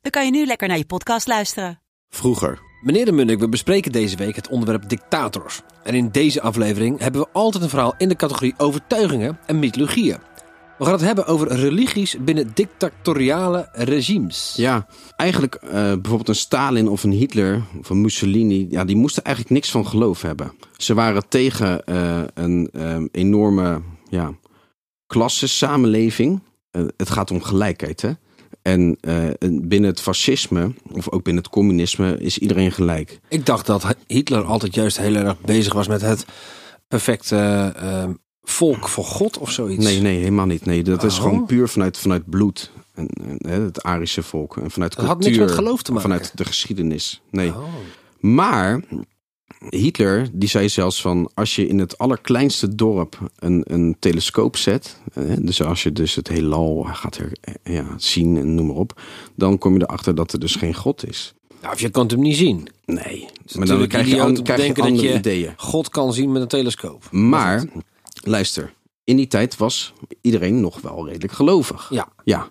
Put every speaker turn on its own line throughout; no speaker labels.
dan kan je nu lekker naar je podcast luisteren.
Vroeger. Meneer de Munnik, we bespreken deze week het onderwerp dictators. En in deze aflevering hebben we altijd een verhaal in de categorie overtuigingen en mythologieën. We gaan het hebben over religies binnen dictatoriale regimes.
Ja, eigenlijk eh, bijvoorbeeld een Stalin of een Hitler of een Mussolini, ja, die moesten eigenlijk niks van geloof hebben. Ze waren tegen eh, een ehm, enorme ja, klassensamenleving. Eh, het gaat om gelijkheid, hè? En eh, en binnen het fascisme, of ook binnen het communisme, is iedereen gelijk.
Ik dacht dat Hitler altijd juist heel erg bezig was met het perfecte eh, eh, volk voor God of zoiets.
Nee, nee, helemaal niet. Nee, dat is
Oh.
gewoon puur vanuit, vanuit bloed. En, en, hè, het Arische volk. En vanuit
Dat had
cultuur.
niks met geloof te maken.
Vanuit de geschiedenis. Nee.
Oh.
Maar Hitler die zei zelfs van als je in het allerkleinste dorp een, een telescoop zet, eh, dus als je dus het heelal gaat her- eh, ja, zien en noem maar op, dan kom je erachter dat er dus geen God is.
Nou, of je kan het hem niet zien.
Nee, maar dan
Natuurlijk
krijg je,
idioot om
an,
te
krijg je
denken dat
andere
je-
ideeën.
God kan zien met een telescoop.
Maar luister, in die tijd was iedereen nog wel redelijk gelovig.
Ja.
ja.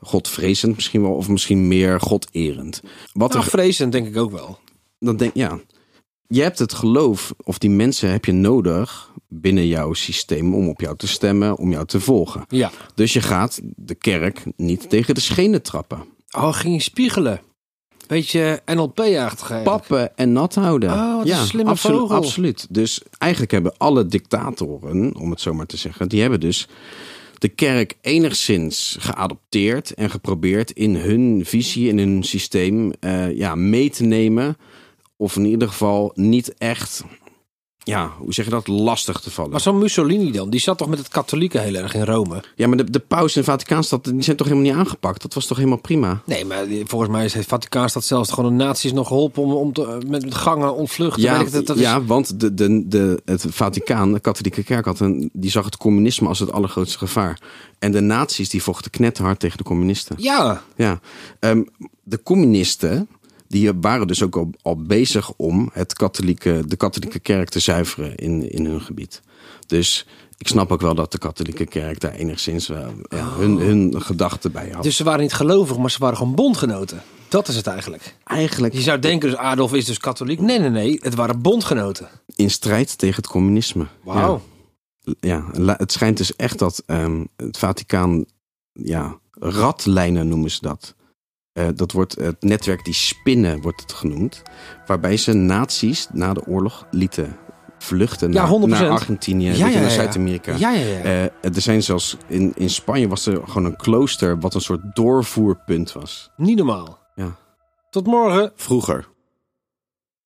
Godvrezend misschien wel, of misschien meer goderend. Wat
Nou,
er
vrezen denk ik ook wel.
dan denk ja, je hebt het geloof of die mensen heb je nodig binnen jouw systeem om op jou te stemmen, om jou te volgen.
Ja.
Dus je gaat de kerk niet tegen de schenen trappen.
Oh, ging je spiegelen. Beetje NLP-achtig.
Pappen en nat houden.
Oh, wat een slimme
absolu-
vogel.
Absoluut. Dus eigenlijk hebben alle dictatoren, om het zo maar te zeggen, die hebben dus de kerk enigszins geadopteerd en geprobeerd in hun visie, in hun systeem eh, ja, mee te nemen. Of in ieder geval niet echt, ja, hoe zeg je dat, lastig te vallen.
Maar zo'n Mussolini dan, die zat toch met het katholieke heel erg in Rome?
Ja, maar de, de paus en de Vaticaanstad, die zijn toch helemaal niet aangepakt? Dat was toch helemaal prima?
Nee, maar die- volgens mij is het Vaticaanstad zelfs gewoon de nazi's nog geholpen om, om te, met gangen ontvluchten.
Ja,
Weet ik dat, dat
ja want de, de, de, het Vaticaan, de katholieke kerk, had een, die zag het communisme als het allergrootste gevaar. En de nazi's die vochten knetterhard tegen de communisten.
Is, ja,
Ja, ehm, de communisten die waren dus ook al, al bezig om het katholieke, de katholieke kerk te zuiveren in, in hun gebied. Dus ik snap ook wel dat de katholieke kerk daar enigszins wel, ja, hun, hun gedachten bij had.
dus ze waren niet gelovig, maar ze waren gewoon bondgenoten. Dat is het eigenlijk.
eigenlijk
Je zou denken, dus Adolf is dus katholiek. Nee, nee, nee, het waren bondgenoten.
in strijd tegen het communisme.
Wauw.
Ja. ja, la- het schijnt dus echt dat ehm, het Vaticaan, ja, ratlijnen noemen ze dat. Eh, dat wordt het netwerk die spinnen, wordt het genoemd. Waarbij ze nazi's na de oorlog lieten vluchten
Ja,
naar,
100%.
naar Argentinië, weet je, naar Zuid-Amerika.
Ja, ja, ja.
Eh, er zijn zelfs in, in Spanje was er gewoon een klooster wat een soort doorvoerpunt was.
Niet normaal.
Ja.
Tot morgen.
Vroeger.